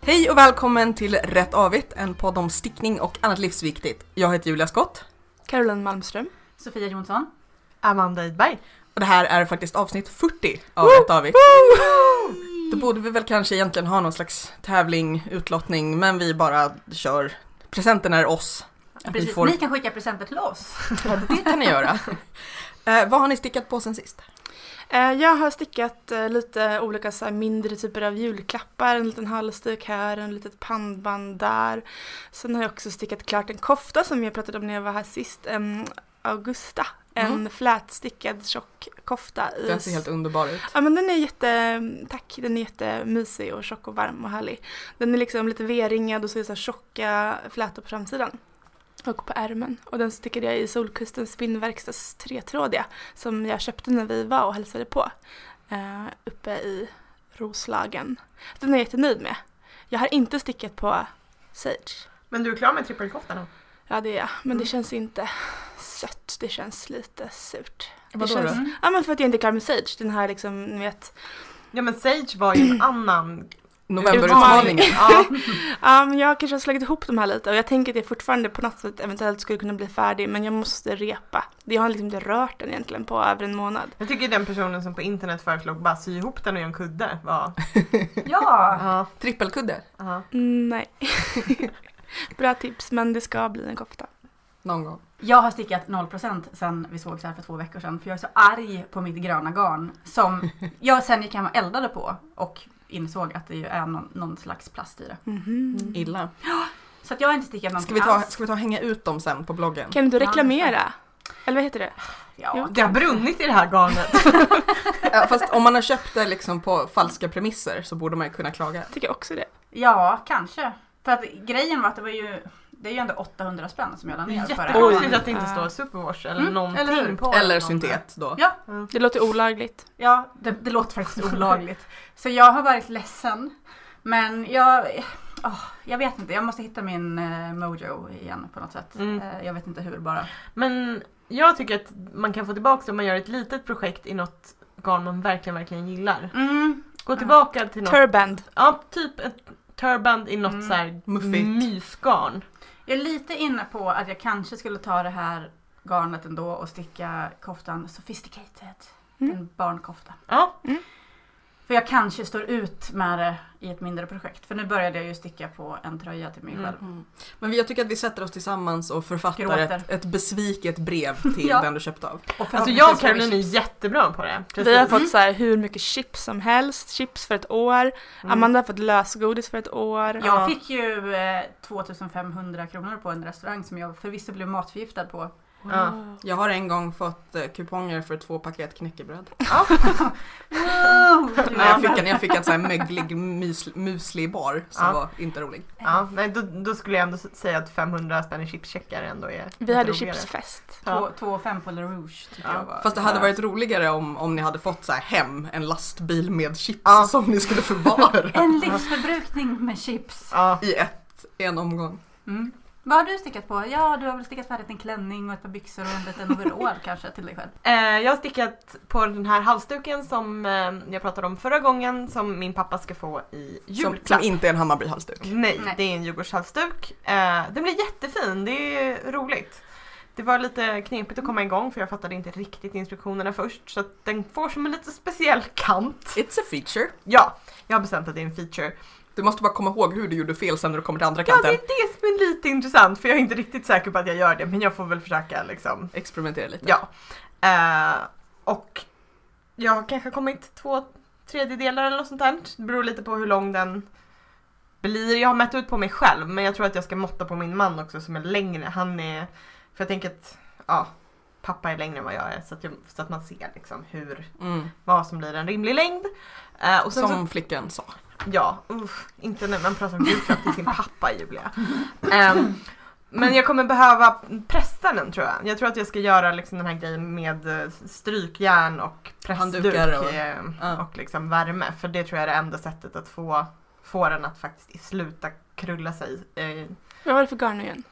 Hej och välkommen till Rätt Avigt, en podd om stickning och annat livsviktigt. Jag heter Julia Skott Caroline Malmström. Sofia Jonsson. Amanda Idberg. och det här är faktiskt avsnitt 40 av Rätt Avigt. Då borde vi väl kanske egentligen ha någon slags tävling, utlottning, men vi bara kör. Presenten är oss. Precis. får- Ni kan skicka presenter till oss. Det kan ni göra. Eh, vad har ni stickat på sen sist? Eh, Jag har stickat eh, lite olika så här mindre typer av julklappar, en liten halsduk här, en litet pannband där. Sen har jag också stickat klart en kofta som jag pratade om när jag var här sist, em, Augusta. En Mm. flätstickad tjock kofta. i- Den ser helt underbar ut. Ja men den är jätte, tack, den är jättemysig och tjock och varm och härlig. Den är liksom lite V-ringad och så är det så här tjocka flätor på framsidan. Och på ärmen. Och den stickade jag i Solkustens spinnverkstads tretrådiga. Som jag köpte när vi var och hälsade på. Eh, uppe i Roslagen. Den är jag jättenöjd med. Jag har inte stickat på Sage. Men du är klar med trippelkoftan då? Ja det är jag. Men det Mm. känns inte sött. Det känns lite surt. Vadå känns- då? Mm. Ja men för att jag inte är klar med Sage. Den här liksom, ni vet Ja men Sage var ju en annan... Novemberutmaningen. ja. Ja, men jag kanske har slagit ihop de här lite och jag tänker att jag fortfarande på något sätt eventuellt skulle kunna bli färdig men jag måste repa. Jag har liksom inte rört den egentligen på över en månad. Jag tycker den personen som på internet föreslog bara sy ihop den och gör en kudde var... Ja! Ja. Trippelkudde ja. Mm, nej. Bra tips men det ska bli en kofta. någon gång. Jag har stickat 0% sen vi sågs här för två veckor sedan för jag är så arg på mitt gröna garn som jag sen gick hem och eldade på och insåg att det ju är någon, någon slags plast i det. Mhm. Mm. Illa. Så att jag har inte stickat Ska någonting vi, ta, alls. ska vi ta och hänga ut dem sen på bloggen? Kan du Ja, reklamera? Eller vad heter det? Ja. Det har brunnit i det här garnet. Ja, fast om man har köpt det liksom på falska premisser så borde man ju kunna klaga. Jag tycker också det. ja, kanske. För att grejen var att det var ju, det är ju ändå 800 spänn som jag la Det ner är för det här. Jättekonstigt att det inte Ja. står superwash eller Mm, någonting eller hur? på Eller den. syntet då. Ja. Det låter olagligt. Ja, det, det låter faktiskt olagligt. Så jag har varit ledsen. Men jag, åh, jag vet inte, jag måste hitta min eh, mojo igen på något sätt. Mm. Eh, jag vet inte hur bara. Men jag tycker att man kan få tillbaka det om man gör ett litet projekt i något garn man verkligen, verkligen gillar. Mm, Gå tillbaka till något, Turband. ja typ ett turband i något Mm. så här Muffigt. mysgarn. jag är lite inne på att jag kanske skulle ta det här garnet ändå och sticka koftan sophisticated. Mm. En barnkofta. Ja, För jag kanske står ut med det i ett mindre projekt. För nu började jag ju sticka på en tröja till mig Mm. själv. Mm. Men vi- jag tycker att vi sätter oss tillsammans och författar Gråter. ett, ett besviket brev till Ja. den du köpte av. Och Alltså jag förhoppningsvis och får vi Caroline är jättebra på det. Vi har Precis. fått så här hur mycket chips som helst. Chips för ett år. Mm. Amanda har fått lösgodis för ett år. Jag fick ju eh, 2500 kronor på en restaurang som jag förvisso blev matförgiftad på. Ja. Wow. Jag har en gång fått eh, kuponger för två paket knäckebröd. När jag fick en, jag fick en sån här möglig mus, muslig bar som Ja. var inte rolig. Ja, nej, då, då skulle jag ändå s- säga att 500 spänn i chipscheckar ändå är Vi lite hade roligare. chipsfest. Två, två och fem på La Rouge tycker Ja. jag var. Fast det hade varit roligare om, om ni hade fått så här hem en lastbil med chips Ja. som ni skulle förvara En livsförbrukning med chips. Ja, i ett, en omgång. Mm. Vad har du stickat på? Ja, du har väl stickat färdigt en klänning och ett par byxor och en liten overall kanske till dig själv. eh, jag har stickat på den här halsduken som eh, jag pratade om förra gången som min pappa ska få i Som, julklapp. som inte är en Hammarbyhalsduk. Nej, Nej. det är en Djurgårdshalsduk. Eh, den blir jättefin, det är roligt. Det var lite knepigt att komma igång för jag fattade inte riktigt instruktionerna först så att den får som en lite speciell kant. It's a feature. Ja, jag har bestämt att det är en feature. Du måste bara komma ihåg hur du gjorde fel sen när du kommer till andra Ja, det kanten. är det som är lite intressant för jag är inte riktigt säker på att jag gör det men jag får väl försöka liksom Experimentera lite. Ja. Eh, och jag har kanske kommit två tredjedelar eller något sånt där. Det beror lite på hur lång den blir. Jag har mätt ut på mig själv men jag tror att jag ska måtta på min man också som är längre. Han är, för jag tänker att ja, pappa är längre än vad jag är så att, jag, så att man ser liksom hur, Mm. vad som blir en rimlig längd. Eh, och sen så Som flickan sa. Ja, uff, inte när man pratar om julklapp till sin pappa Julia. Ehm, men jag kommer behöva pressa den tror jag. Jag tror att jag ska göra liksom den här grejen med eh, strykjärn och pressduk Handdukar och- eh, ja. och liksom värme. För det tror jag är det enda sättet att få, få den att faktiskt sluta krulla sig. Eh, Vad var det för garn nu igen?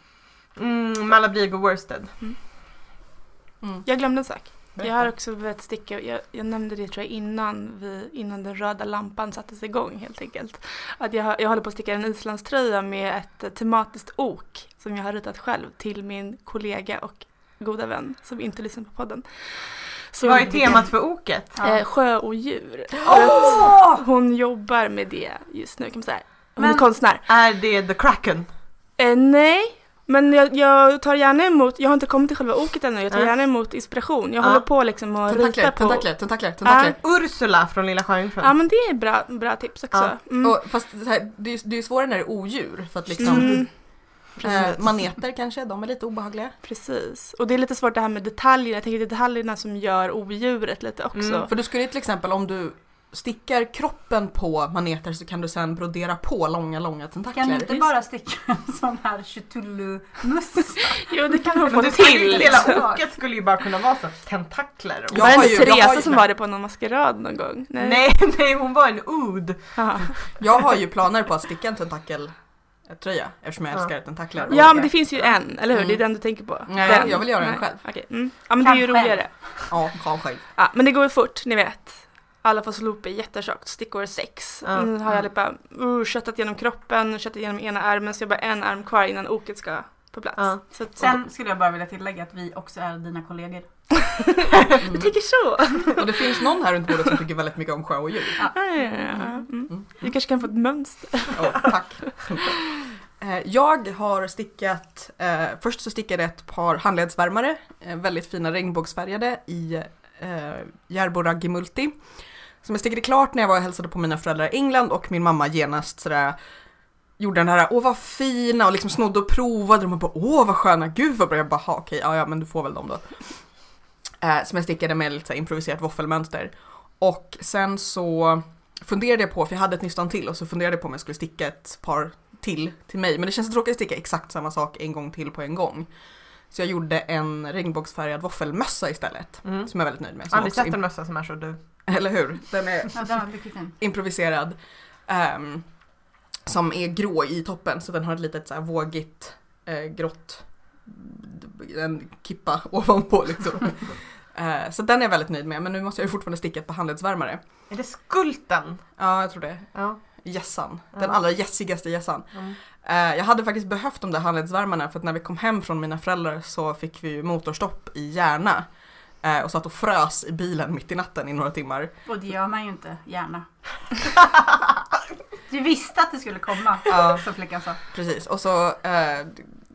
Mm, Malabrigo Worsted. Jag glömde en sak. Jag har också behövt sticka, jag, jag nämnde det tror jag innan, vi, innan den röda lampan sattes igång helt enkelt. Att jag, har- jag håller på att sticka en islandströja med ett eh, tematiskt ok som jag har ritat själv till min kollega och goda vän som inte lyssnar på podden. Så, Vad är temat för oket? eh, sjöodjur. För att Hon jobbar med det just nu kan man säga. Hon är Men- konstnär. Är det The Kraken? Eh, nej, men jag, jag tar gärna emot, jag har inte kommit till själva oket ännu, jag tar Nej. gärna emot inspiration. Jag Ja. håller på liksom att Tentakler, rita på. tentakler, tentakler, tentakler. Ursula från Lilla Sjöjungfrun? Ja men det är bra, bra tips också. Mm. Och, fast så här, det, är, ju- det är ju svårare när det är odjur för att liksom Mm, eh, maneter kanske, de är lite obehagliga. precis. Och det är lite svårt det här med detaljerna, jag tänker det är detaljerna som gör odjuret lite också. Mm, För du skulle ju till exempel om du stickar kroppen på maneter så kan du sen brodera på långa, långa tentakler. Kan du inte bara sticka en sån här chutullu-mössa? Jo det kan hon få Men det skulle ju- till. Hela Liksom. liksom. oket skulle ju bara kunna vara så tentakler. Jag var det har inte ju- jag har Teresa ju- som var det på någon maskerad någon gång? Nej. Nej, nej, hon var en ud. Jaha. Jag har ju planer på att sticka en tentakeltröja eftersom jag Ja. älskar tentakler. och Ja men det olika- finns ju en, eller hur? Mm. Det är den du tänker på? Nej, den. jag vill göra den Nej. själv. Okej. Mm. Ja men det är ju Kanske. roligare. Ja, kan själv. Ja, men det går ju fort, ni vet. Alla får loop är jättetjockt, stickor är sex. Ja. Nu har Mm. jag lite bara uh, köttat genom kroppen, köttat genom ena armen så jag har bara en arm kvar innan oket ska på plats. Ja. Så att, Sen skulle jag bara vilja tillägga att vi också är dina kollegor. jag tänker så! Mm. Och det finns någon här runt bordet som tycker väldigt mycket om sjö och djur. Ja, ja, ja, ja. Mm. Mm. Vi kanske kan få ett mönster. Ja, tack. Eh, Jag har stickat, eh, först så stickade jag ett par handledsvärmare, eh, väldigt fina regnbågsfärgade i eh, Järbo Raggi Multi. Som jag stickade klart när jag var och hälsade på mina föräldrar i England och min mamma genast sådär gjorde den här, åh vad fina och liksom snodde och provade dem och bara åh vad sköna, gud vad bra. Jag bara, "Ha, okej, ja ja men du får väl dem då. Eh, som jag stickade med lite så här improviserat våffelmönster. Och sen så funderade jag på, för jag hade ett nystan till och så funderade jag på om jag skulle sticka ett par till till mig. Men det känns tråkigt att sticka exakt samma sak en gång till på en gång. Så jag gjorde en regnbågsfärgad våffelmössa istället. Mm. Som jag är väldigt nöjd med. Jag har Som aldrig också sett en mössa som är så du. eller hur? Den är Ja, den var mycket fin. improviserad. ehm, som är grå i toppen så den har ett litet så här vågigt eh, grått en kippa ovanpå liksom. Eh, så den är jag väldigt nöjd med men nu måste jag ju fortfarande sticka ett par handledsvärmare. Är det skulten? Ja, jag tror det. Ja. Gässan. Den Ja. allra gässigaste gässan. Mm. Eh, Jag hade faktiskt behövt de där handledsvärmarna för att när vi kom hem från mina föräldrar så fick vi ju motorstopp i Järna. eh, Och satt och frös i bilen mitt i natten i några timmar. Och det gör man ju inte gärna. Du visste att det skulle komma, Ja. som flickan sa. Precis, och så eh,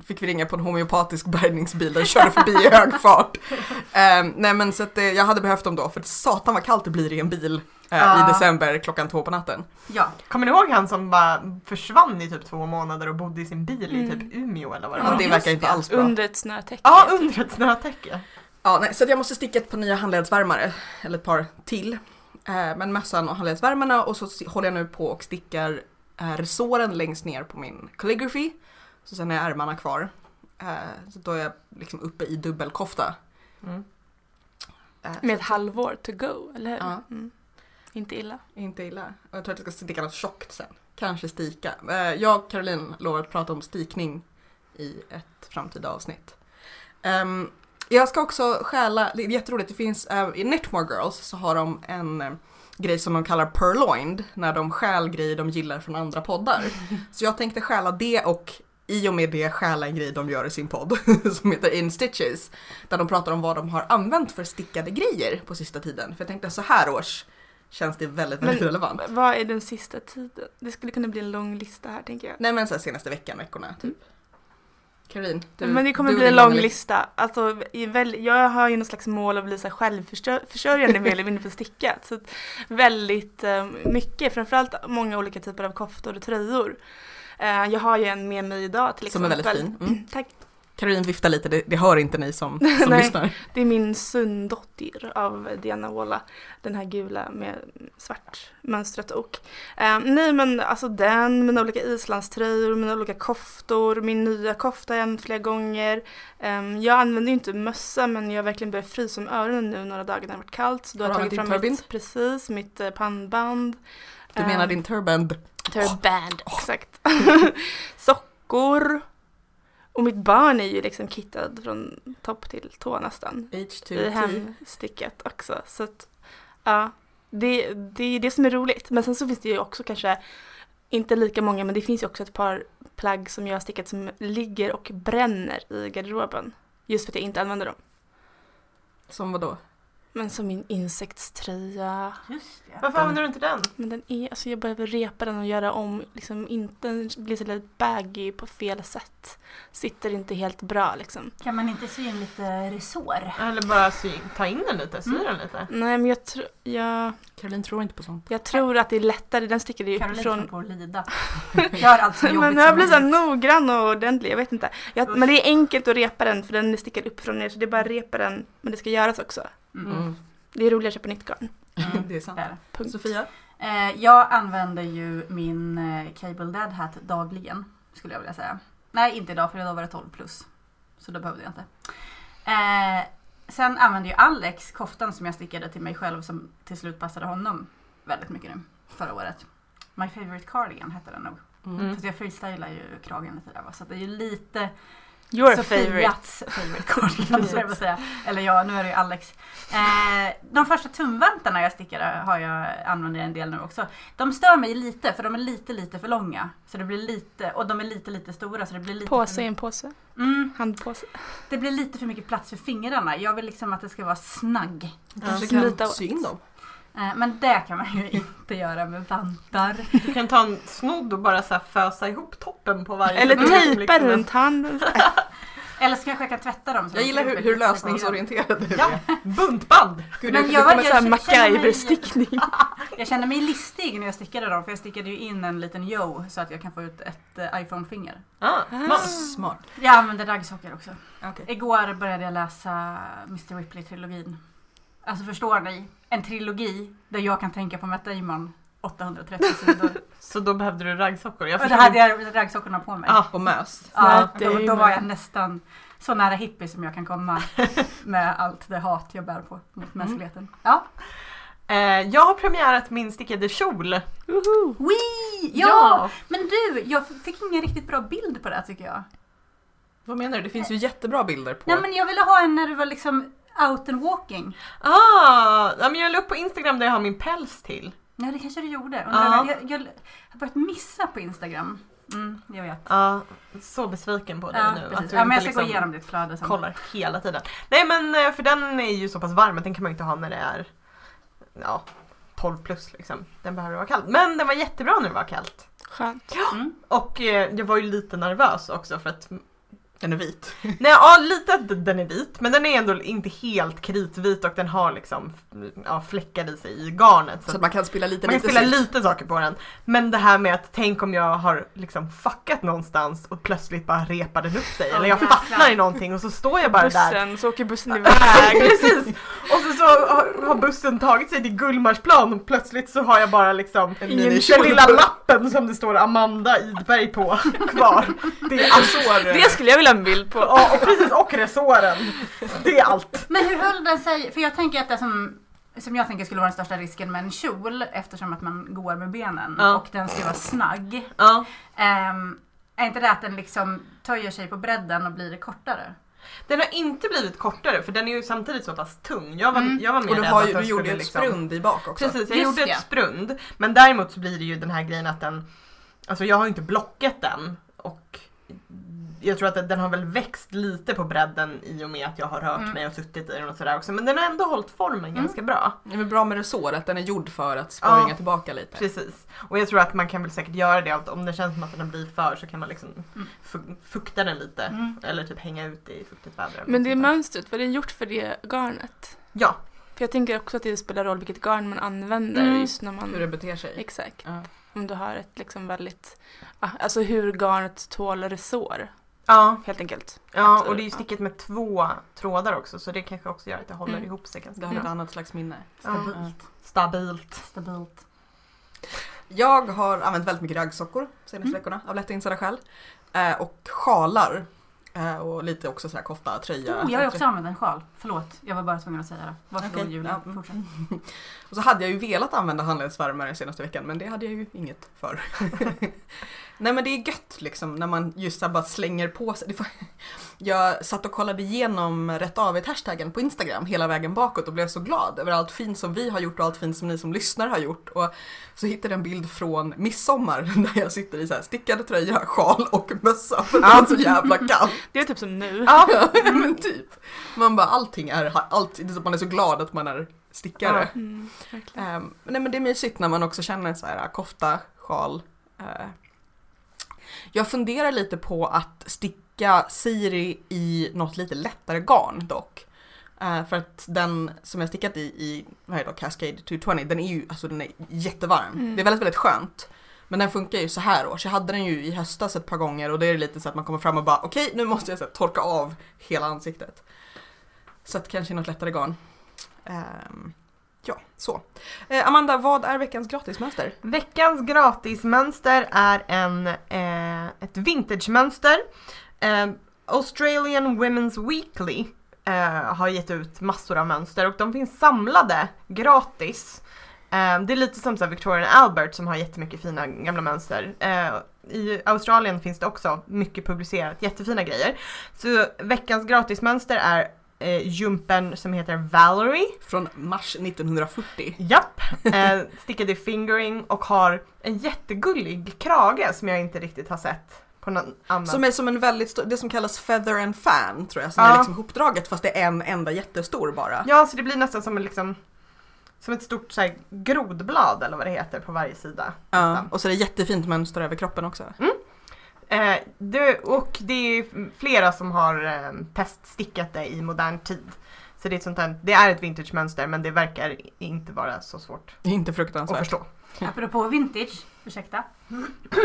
fick vi ringa på en homeopatisk bärgningsbil och körde förbi i hög fart. Eh, nej men så att eh, jag hade behövt dem då för satan vad kallt det blir i en bil eh, Ja. i december klockan två på natten. Ja, Kommer ni ihåg han som bara försvann i typ två månader och bodde i sin bil i Mm. typ Umeå eller vad det Ja, var? det verkar inte alls bra. Under ett snötäcke. Typ. Ja, under ett snötäcke. Ja, nej, så att jag måste sticka ett par nya handledsvärmare, eller ett par till. Eh, men mössan och handledsvärmarna och så si- håller jag nu på och stickar eh, resåren längst ner på min calligraphy. Så sen är ärmarna kvar. Eh, så då är jag liksom uppe i dubbelkofta. Mm. Eh, så Med ett halvår to go, eller hur? Ja. Mm. Inte illa. Inte illa. Och jag tror att jag ska sticka något tjockt sen. Kanske stika. Eh, Jag och Caroline lovar att prata om stikning i ett framtida avsnitt. Ehm, jag ska också stjäla, det är jätteroligt, det finns eh, i Knitmore Girls så har de en eh, grej som de kallar purloined, när de stjäl grejer de gillar från andra poddar. Så jag tänkte stjäla det och i och med det stjäla en grej de gör i sin podd som heter In Stitches. Där de pratar om vad de har använt för stickade grejer på sista tiden. För jag tänkte så här års känns det väldigt, väldigt Men- relevant. Vad är den sista tiden? Det skulle kunna bli en lång lista här tänker jag. Nej men så här senaste veckan, veckorna typ. Caroline, du, Mm. men det kommer du och bli en din lång lista. Alltså, i väl, jag har ju något slags mål att bli så här självförsörjande mer eller mindre på stickat. Så att väldigt eh, mycket, framförallt många olika typer av koftor och tröjor. Eh, jag har ju en med mig idag till Som är exempel. väldigt fin. Mm. Tack. Caroline viftar lite, det, det hör inte ni som, som Nej. lyssnar. Det är min Sunddotter av Diana Walla. Den här gula med svart mönstrat ok. Eh, nej men alltså den, mina olika islandströjor, mina olika koftor, min nya kofta har jag använt flera gånger. Eh, jag använder ju inte mössa men jag har verkligen börjat frysa om öronen nu några dagar när det har varit kallt. Så då har Har jag du tagit använt fram din mitt, precis, mitt eh, pannband. Du Eh, menar din turband? Turband, exakt. Sockor. Och mitt barn är ju liksom kittad från topp till tå nästan. I H2T. hemsticket också. Så att, ja, det, det är det som är roligt. Men sen så finns det ju också kanske, inte lika många, men det finns ju också ett par plagg som jag har stickat som ligger och bränner i garderoben. Just för att jag inte använder dem. Som vadå? Men som min insektströja. Just det. Varför använder du inte den? Men den är, alltså jag behöver repa den och göra om, liksom inte, den blir så lite baggy på fel sätt. Sitter inte helt bra liksom. Kan man inte sy in lite resår? Eller bara sy, ta in den lite, sy Mm. den lite. Nej men jag, tr- jag, Caroline tror inte på sånt. jag tror att det är lättare, den sticker ju Caroline uppifrån. från... på att lida. Gör allt så jobbigt Men jag som blir så möjligt. noggrann och ordentlig, jag vet inte. Jag, men det är enkelt att repa den för den sticker uppifrån ner så det är bara att repa den. Men det ska göras också. Mm. Det är roligare att köpa nytt garn. Mm. Det är sant. Där. Punkt. Sofia? Eh, jag använder ju min eh, Cable Dad Hat dagligen, skulle jag vilja säga. Nej, inte idag för idag var det 12 plus. Så då behövde jag inte. Eh, sen använder ju Alex koftan som jag stickade till mig själv som till slut passade honom väldigt mycket nu, förra året. My favorite cardigan hette den nog. Mm. Fast jag freestylar ju kragen lite där va, så att det är ju lite Your favorite. Sofias favorite cardigan skulle jag vilja säga. Eller ja, nu är det ju Alex. Eh, de första tumvantarna jag stickade har jag använder en del nu också. De stör mig lite för de är lite lite för långa. Så det blir lite, och de är lite lite stora så det blir lite Påse för i mycket, en påse. mm, Handpåse. Det blir lite för mycket plats för fingrarna. Jag vill liksom att det ska vara snagg. Kanske Smita kan åt. sy in dem. Eh, men det kan man ju inte göra med vantar. Du kan ta en snodd och bara så här fösa ihop toppen på varje Eller snodd, tejpa liksom. runt handen. Eller så kanske jag kan tvätta dem. så Jag de gillar slipper hur, hur lite så. lösningsorienterad du Ja, buntband! Gud, Men det- jag det kommer var- så här- Såhär känner mig- MacGyver-stickning. Jag kände mig listig när jag stickade dem för jag stickade ju in en liten yo så att jag kan få ut ett eh, iPhone-finger. Ah, smart. Smart. Jag använder raggsockor också. Okej. Igår började jag läsa Mr Ripley-trilogin. Alltså förstår ni? En trilogi där jag kan tänka på Matt Damon 830 sidor. Så då behövde du raggsockor. Jag Och då förstod- hade jag raggsockorna på mig. Ah. Och mös. Ja, Matt då, då Damon. var jag nästan så nära hippie som jag kan komma med allt det hat jag bär på mot mänskligheten. Ja. Eh, jag har premiärat min stickade kjol. Woho! Wee! Ja! Men du, jag fick ingen riktigt bra bild på det här, tycker jag. Vad menar du? Det finns ju jättebra bilder på. Nej men jag ville ha en när du var liksom out and walking. Ah, ja, men jag la upp på Instagram där jag har min päls till. Ja det kanske du gjorde. Ja. Undrar, jag, jag har börjat missa på Instagram. Mm, jag vet. Ja, så besviken på dig Ja, nu. precis. du ja men inte jag ska liksom gå igenom ditt flöde sen. Kollar hela tiden. Nej men eh, för den är ju så pass varm att den kan man ju inte ha när det är ja, 12 plus liksom. Den behöver vara kall. Men den var jättebra när det var kallt. Skönt. Mm. Och eh, jag var ju lite nervös också för att Den är vit. Nej, ja, lite att den är vit, men den är ändå inte helt kritvit och den har liksom ja, fläckar i sig i garnet. Så Så att att man kan spilla lite man kan lite spela sylt. lite saker på den. Men det här med att tänk om jag har liksom fuckat någonstans och plötsligt bara repar den upp sig. Ja, Eller jag jäklar. fastnar i någonting och så står jag bara där. Bussen, så åker bussen iväg. Precis! Och så, så har har bussen tagit sig till Gullmarsplan och plötsligt så har jag bara liksom En den minikjol. lilla lappen som det står Amanda Idberg på kvar. Det är allt. Alltså, Det skulle jag vilja ha en bild på. Ja, och precis, och resåren. Det är allt. Men hur höll den sig? För jag tänker att det som, som jag tänker skulle vara den största risken med en kjol eftersom att man går med benen Ja. och den ska vara snagg. Ja. Ehm, är inte det att den liksom töjer sig på bredden och blir kortare? Den har inte blivit kortare för den är ju samtidigt så pass tung. Jag var, Mm. jag var mer Och du, rädd har att ju, den du gjorde ju skulle liksom- ett sprund i bak också. Precis, jag Just gjorde det. ett sprund. Men däremot så blir det ju den här grejen att den, alltså jag har ju inte blockat den och jag tror att den har väl växt lite på bredden i och med att jag har rört Mm. mig och suttit i den och sådär också. Men den har ändå hållit formen ganska bra. Det är väl bra med resår, att den är gjord för att Ja. springa tillbaka lite. Precis. Och jag tror att man kan väl säkert göra det att om det känns som att den blir för så kan man liksom Mm. fu- fukta den lite. Mm. Eller typ hänga ut i fuktigt väder. eller Men något det är sånt där. mönstret, vad är det gjort för det garnet? Ja. För jag tänker också att det spelar roll vilket garn man använder Mm. just när man... Hur det beter sig. Exakt. Ja. Om du har ett liksom väldigt... ah, Alltså hur garnet tål resår, Ja, helt enkelt. Ja, Att- och det är ju ja. sticket med två trådar också så det kanske också gör att det håller Mm. ihop sig ganska Det har bra. ett annat slags minne. Stabilt. Ja. Stabilt. Stabilt. Jag har använt väldigt mycket raggsockor senaste Mm. veckorna av lätta insedda skäl. Eh, och sjalar. Eh, Och lite också sådär kofta, tröja. Oh, jag har ju också använt en sjal. Förlåt, jag var bara tvungen att säga det. Varsågod Okej, Julia, ja. fortsätt. Och så hade jag ju velat använda handledsvärmare senaste veckan men det hade jag ju inget för. Nej men det är gött liksom när man just så här bara slänger på sig. Det får- Jag satt och kollade igenom rätt avigt hashtaggen på Instagram hela vägen bakåt och blev så glad över allt fint som vi har gjort och allt fint som ni som lyssnar har gjort. Och så hittade jag en bild från midsommar där jag sitter i så här stickad tröja, sjal och mössa för det är så jävla kallt. Det är typ som nu. Ja, men typ. Man bara allting är, allt, det är så att man är så glad att man är stickare. Ja. Mm, verkligen. Ehm, nej men det är mysigt när man också känner så här äh, kofta, sjal. eh. Jag funderar lite på att sticka Siri i något lite lättare garn dock. Eh, för att den som jag stickat i, i vad är det då, Cascade 220, den är ju alltså den är jättevarm. Mm. Det är väldigt, väldigt skönt. Men den funkar ju så här års. Jag hade den ju i höstas ett par gånger och det är lite så att man kommer fram och bara okej nu måste jag så här, torka av hela ansiktet. Så att kanske något lättare garn. Ehm, ja, så. Eh, Amanda, vad är veckans gratismönster? Veckans gratismönster är en, eh, ett vintagemönster. Eh, Australian Women's Weekly eh, har gett ut massor av mönster och de finns samlade gratis. Eh, det är lite som så här Victorian Albert som har jättemycket fina gamla mönster. Eh, I Australien finns det också mycket publicerat, jättefina grejer. Så veckans gratismönster är eh, jumpen som heter Valerie. Från mars 1940. Japp! Eh, stickade i fingering och har en jättegullig krage som jag inte riktigt har sett på någon annan. Som är som en väldigt stor, det som kallas feather and fan tror jag, som Ja. är liksom hopdraget fast det är en enda jättestor bara. Ja, så det blir nästan som, en, liksom, som ett stort så här, grodblad eller vad det heter på varje sida. Ja, nästan. och så är det jättefint mönster över kroppen också. Eh, det, och det är flera som har eh, teststickat det i modern tid. Så det är, ett sånt här, det är ett vintage-mönster men det verkar inte vara så svårt Det är inte att fruktansvärt. förstå. Apropå vintage, ursäkta.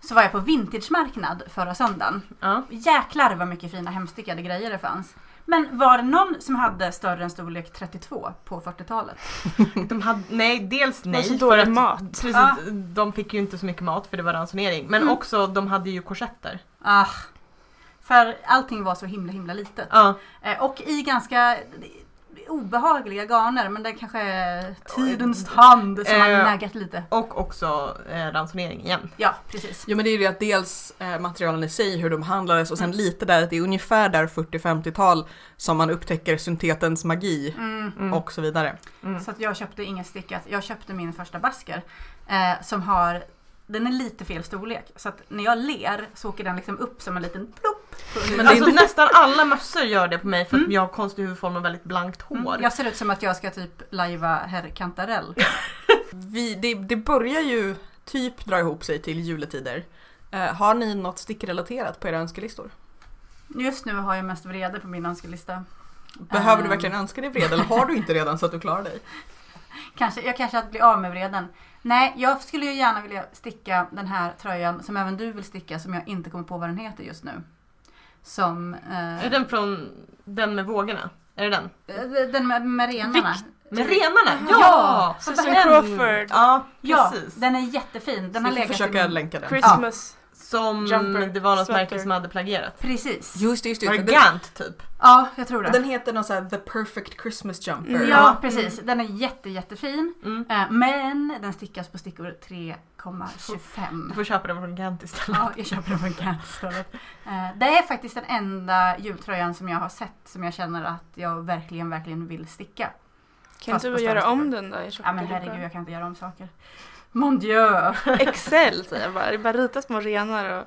Så var jag på vintagemarknad förra söndagen. Ja. Jäklar vad mycket fina hemstickade grejer det fanns. Men var det någon som hade större än storlek 32 på 40-talet? De hade, nej, dels nej. så för dålig att- mat. Precis, Ah. De fick ju inte så mycket mat för det var ransonering. Men Mm. också, de hade ju korsetter. Ah, för allting var så himla himla litet. Ja. Eh, Och i ganska obehagliga garner, men det kanske är tidens tand som har Eh. naggat lite. Och också eh, ransonering igen. Ja, precis. Jo men det är ju det att dels eh, materialen i sig, hur de handlades och sen lite där att det är ungefär där 40-50-tal som man upptäcker syntetens magi Mm. och så vidare. Mm. Så att jag köpte inget stickat. Jag köpte min första basker. Eh, som har, den är lite fel storlek. Så att när jag ler så åker den liksom upp som en liten plopp. Men det är alltså inte- nästan alla mössor gör det på mig för att Mm. jag har konstig huvudform och väldigt blankt hår. Mm, Jag ser ut som att jag ska typ lajva herr Kantarell. Vi, det, det börjar ju typ dra ihop sig till juletider. Eh, har ni något stickrelaterat på era önskelistor? Just nu har jag mest vrede på min önskelista. Behöver du Ehm. verkligen önska dig vrede eller har du inte redan så att du klarar dig? Kanske, jag kanske att bli av med vreden. Nej, jag skulle ju gärna vilja sticka den här tröjan som även du vill sticka som jag inte kommer på vad den heter just nu. Som... Eh, Är den från den med vågorna? Är det den? eh, den med, med renarna. Med renarna? Ja! Ja! Susan Den! Crawford. Ja, Ja, precis. den är jättefin. Den har Ska vi legat i försöka min- länka den. Christmas. Som Jumper, det var något sweater. märke som hade plagierat. Precis. Just det, just det. Var det Den- Gant typ? Ja, jag tror det. Den heter någon sån här The Perfect Christmas Jumper. Mm. ja, precis. Den är jätte, jättefin. Mm. Eh, Men den stickas på stickor Du 3,25. får köpa den från Gant istället. Ja, jag köper den från Cantstollet. Det är faktiskt den enda jultröjan som jag har sett som jag känner att jag verkligen, verkligen vill sticka. Kan Fast inte på du göra stämmer. om den då? i tjocka Ja men grupper? herregud, jag kan inte göra om saker. Mon dieu! Excel säger jag bara. Det bara ritas små renar och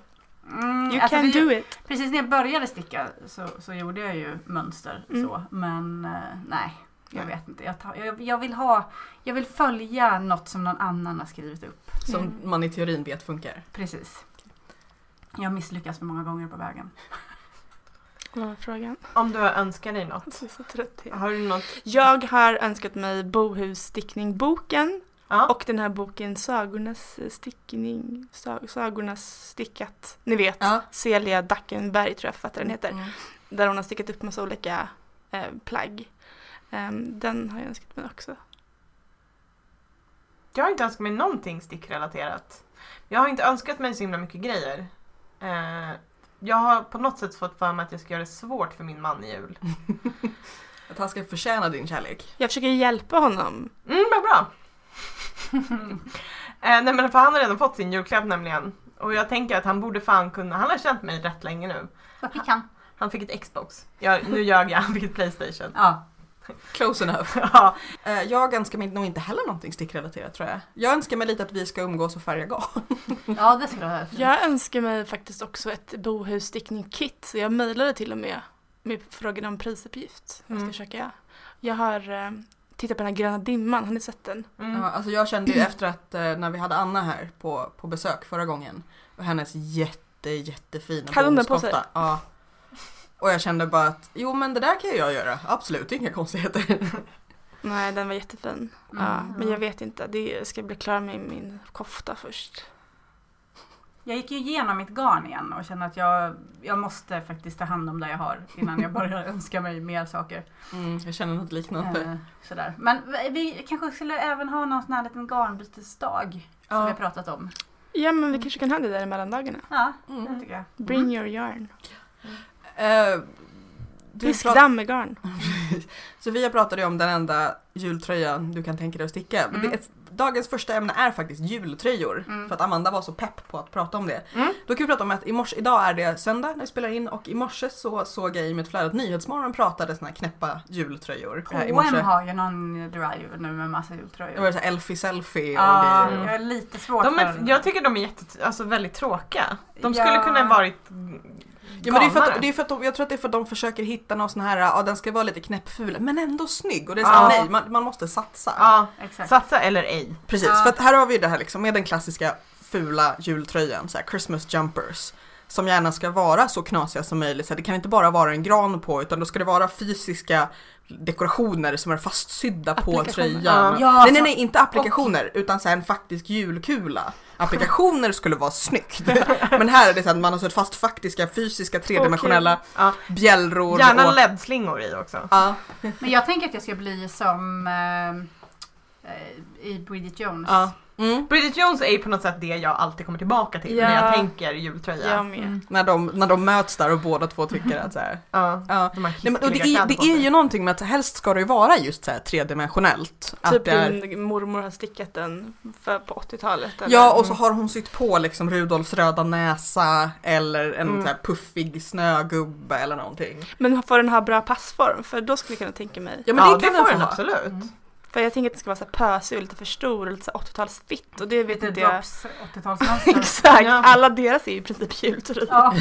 Mm, you alltså, can det- do it. Precis när jag började sticka så, så gjorde jag ju mönster Mm. så, men eh, nej. Jag Nej. vet inte. Jag, tar, jag, jag, vill ha, jag vill följa något som någon annan har skrivit upp. Som Mm. man i teorin vet funkar. Precis. Jag har misslyckats för många gånger på vägen. Vad var frågan? Om du önskar dig något. Alltså, jag är så trött jag är. Har du något? Jag har önskat mig Bohusstickning-boken Ja. och den här boken Sagornas stickning, Sa- Sagornas stickat, ni vet. Ja. Celia Dackenberg tror jag författaren heter. Där hon har stickat upp massa olika eh, plagg. Ehm, den har jag önskat mig också. Jag har inte önskat mig någonting stickrelaterat. Jag har inte önskat mig så himla mycket grejer. Eh, jag har på något sätt fått för mig att jag ska göra det svårt för min man i jul. Att han ska förtjäna din kärlek. Jag försöker hjälpa honom. Mm, vad bra! eh, nej men för han har redan fått sin julklapp nämligen. Och jag tänker att han borde fan kunna, han har känt mig rätt länge nu. Vad fick han? Han fick ett Xbox. Jag, nu ljög jag, han fick ett Playstation. Ja. Close enough. ja, Eh, Jag önskar mig nog inte heller någonting stickrelaterat tror jag. Jag önskar mig lite att vi ska umgås och färga garn. ja, det skulle vara fint. Jag önskar mig faktiskt också ett bohusstickning-kit. Så jag mejlade till och med med frågan om prisuppgift. Jag ska Mm. försöka. Jag har eh, tittat på den här gröna dimman, har ni sett den? mm. Ja, alltså jag kände ju efter att eh, när vi hade Anna här på, på besök förra gången och hennes jätte jättefina Hade hon den på bomullskofta. sig? Ja. Och jag kände bara att jo men det där kan ju jag göra, absolut inga konstigheter. Nej, den var jättefin. Mm. Ja, men jag vet inte, det jag ska bli klar med min kofta först. Jag gick ju igenom mitt garn igen och kände att jag, jag måste faktiskt ta hand om det jag har innan jag börjar önska mig mer saker. Mm, jag känner något liknande. Eh, sådär. Men vi- vi kanske skulle även ha någon sån här liten garnbytesdag som Ja. vi har pratat om. Ja, men vi kanske kan ha det där i mellandagarna. Ja, Mm. det tycker jag. Bring your yarn. Eh, du prat- Diskdamm med garn. Sofia pratade ju om den enda jultröjan du kan tänka dig att sticka. Men Mm. Det är, dagens första ämne är faktiskt jultröjor. Mm. För att Amanda var så pepp på att prata om det. Mm. Då kan vi prata om att i morse, idag är det söndag när vi spelar in och i morse så såg jag i mitt flöde att Nyhetsmorgon pratade såna här knäppa jultröjor. Eh, I H&M morse. har ju någon drive nu med massa Det jultröjor. var så här Elfie Selfie och Ah, Ja, grejer. jag är lite svårt De för är, den. jag tycker de är jätte, alltså väldigt tråkiga. De skulle Ja. kunna varit Ja, men det är för galnare. att, det är för att de, jag tror att det är för att de försöker hitta någon sån här, ja den ska vara lite knäppful men ändå snygg. Och det är såhär, Ja. nej man, man måste satsa. Ja, Exakt. satsa eller ej. Precis, Ja. för att här har vi ju det här liksom med den klassiska fula jultröjan, så här Christmas jumpers. Som gärna ska vara så knasiga som möjligt. Så här, det kan inte bara vara en gran på utan då ska det vara fysiska dekorationer som är fastsydda på Applikationer. tröjan. Ja, nej, nej, nej, inte applikationer utan så här en faktisk julkula. Applikationer skulle vara snyggt. Men här är det så att man har suttit fast faktiska fysiska tredimensionella Ja. bjällror. Gärna och- LED-slingor i också. Ja. Men jag tänker att jag ska bli som eh, eh, i Bridget Jones. Ja. Mm. Bridget Jones är ju på något sätt det jag alltid kommer tillbaka till när Ja. jag tänker jultröja. Jag med. Mm. När, de, när de möts där och båda två tycker att så här, Ja. ja. De här Nej, men, och det, hiskeliga är, det kläderna på är sig. ju någonting med att helst ska det ju vara just så här tredimensionellt. att Typ det är, min mormor har stickat den för, på 80-talet. eller- ja, och så har hon sytt på liksom Rudolfs röda näsa eller en Mm. så här puffig snögubbe eller någonting. Men får den ha bra passform? För då skulle jag kunna tänka mig. Ja, men Ja, det kan det den får den få ha. absolut. Mm. För jag tänker att den ska vara så här pösig och lite för stor och lite så här 80-talsfitt och det vet Lite inte jag. drops 80-talsmönster. Exakt, Ja. alla deras är ju i princip jultröjor. ja.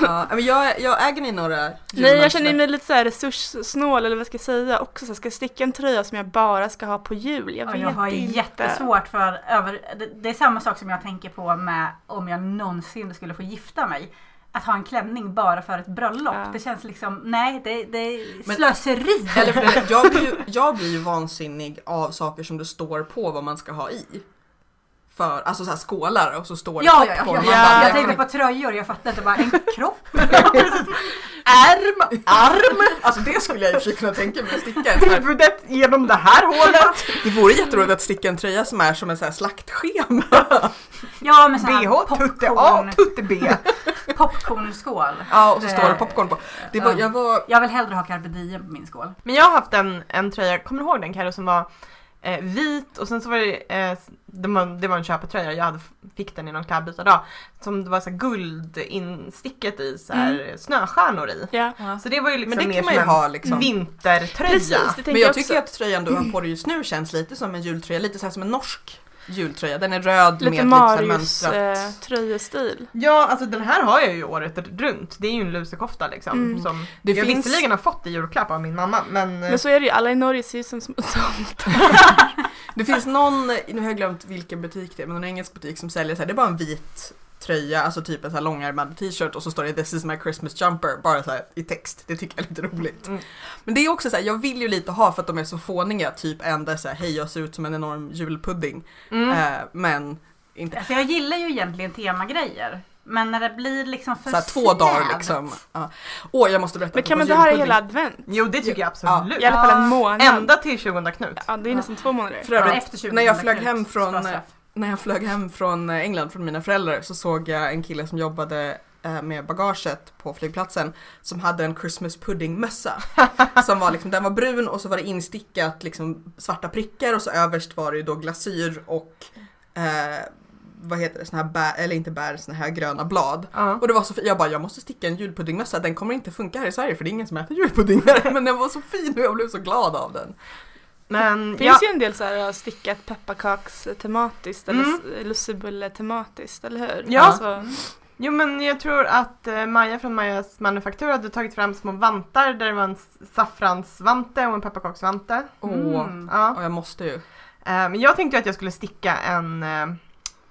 Ja, men jag, jag äger ni några Nej jag julmönster? känner mig lite så här resurssnål eller vad ska jag säga också så här, ska jag sticka en tröja som jag bara ska ha på jul? Jag Ja, vet jag har inte. jättesvårt för över... det- Det är samma sak som jag tänker på med om jag någonsin skulle få gifta mig. Att ha en klänning bara för ett bröllop. Ja. Det känns liksom, nej det, det är Men- slöseri. Eller för det, jag, blir ju, jag blir ju vansinnig av saker som det står på vad man ska ha i. För, alltså så här skålar och så står det Ja, topp ja, på ja, dem. ja, Man bara- jag tänkte på tröjor, jag fattade inte bara en kropp. Ärm, arm! Alltså det skulle jag i och för sig kunna tänka mig att sticka en sån här Huvudet genom det här hålet. Det vore jätteroligt att sticka en tröja som är som en sån här slaktschema. Ja men sån här BH, tutte A, popcorn, tutte B. popcornskål. Ja, och så står det popcorn på. Det var, Ja. jag var... Jag vill hellre ha carpe diem på min skål. Men jag har haft en, en tröja, kommer du ihåg den Carro som var eh, vit och sen så var det, eh, det, var, det var en köpetröja, jag hade, fick den i någon klädbytardag. Som det var så här guld insticket i så här snöstjärnor i. Ja. Så det var ju liksom Men det mer kan man ju som en ha liksom. vintertröja. Precis, det tänker Men jag jag också. tycker att tröjan du har på dig just nu känns lite som en jultröja, lite så här som en norsk jultröja. Den är röd Lite med lite så här Marius eh, mönstrat. Mm. tröjestil. Ja, alltså den här har jag ju året runt. Det är ju en lusekofta liksom. Mm. Som Det jag finns- visserligen har fått i julklapp av min mamma, men... eh, Men så är det ju, alla i Norge ser ju ut som små Det finns någon, nu har jag glömt vilken butik det är, men någon engelsk butik som säljer så här, det är bara en vit tröja, alltså typ en så här långärmad t-shirt och så står det “This is my Christmas jumper” bara så här i text. Det tycker jag är lite roligt. Mm. Men det är också så här, jag vill ju lite ha för att de är så fåniga, typ en där så här, “Hej, jag ser ut som en enorm julpudding”. mm. Eh, men inte. Alltså jag gillar ju egentligen temagrejer. Men när det blir liksom för Så här, två dagar snävt. liksom. Ja. Åh, jag måste berätta. Men kan man apropå inte ha det julpudding. hela advent? Jo, det tycker jag absolut. I alla fall en Ja. månad. Ända till 20 Knut. Ja, det är nästan två månader. För övrigt, Efter 20 när jag flög knut, hem från- spastraff. eh, När jag flög hem från England från mina föräldrar så såg jag en kille som jobbade eh, med bagaget på flygplatsen som hade en Christmas pudding-mössa. som var liksom, den var brun och så var det instickat liksom svarta prickar och så överst var det ju då glasyr och eh, vad heter det, såna här bär, eller inte bär, såna här gröna blad. Ja. Och det var så fint, jag bara jag måste sticka en julpuddingmössa, den kommer inte funka här i Sverige för det är ingen som äter julpudding här. Men den var så fin och jag blev så glad av den. Men Det ja, finns ju en del så här stickat pepparkaks tematiskt eller Mm. mm. lussebulle tematiskt, eller hur? Ja. Alltså, jo men jag tror att eh, Maja från Majas manufaktur hade tagit fram små vantar där det var en s- saffransvante och en pepparkaksvante. eh, Åh, Mm. Ja. och jag måste ju. Eh, Men jag tänkte ju att jag skulle sticka en, eh,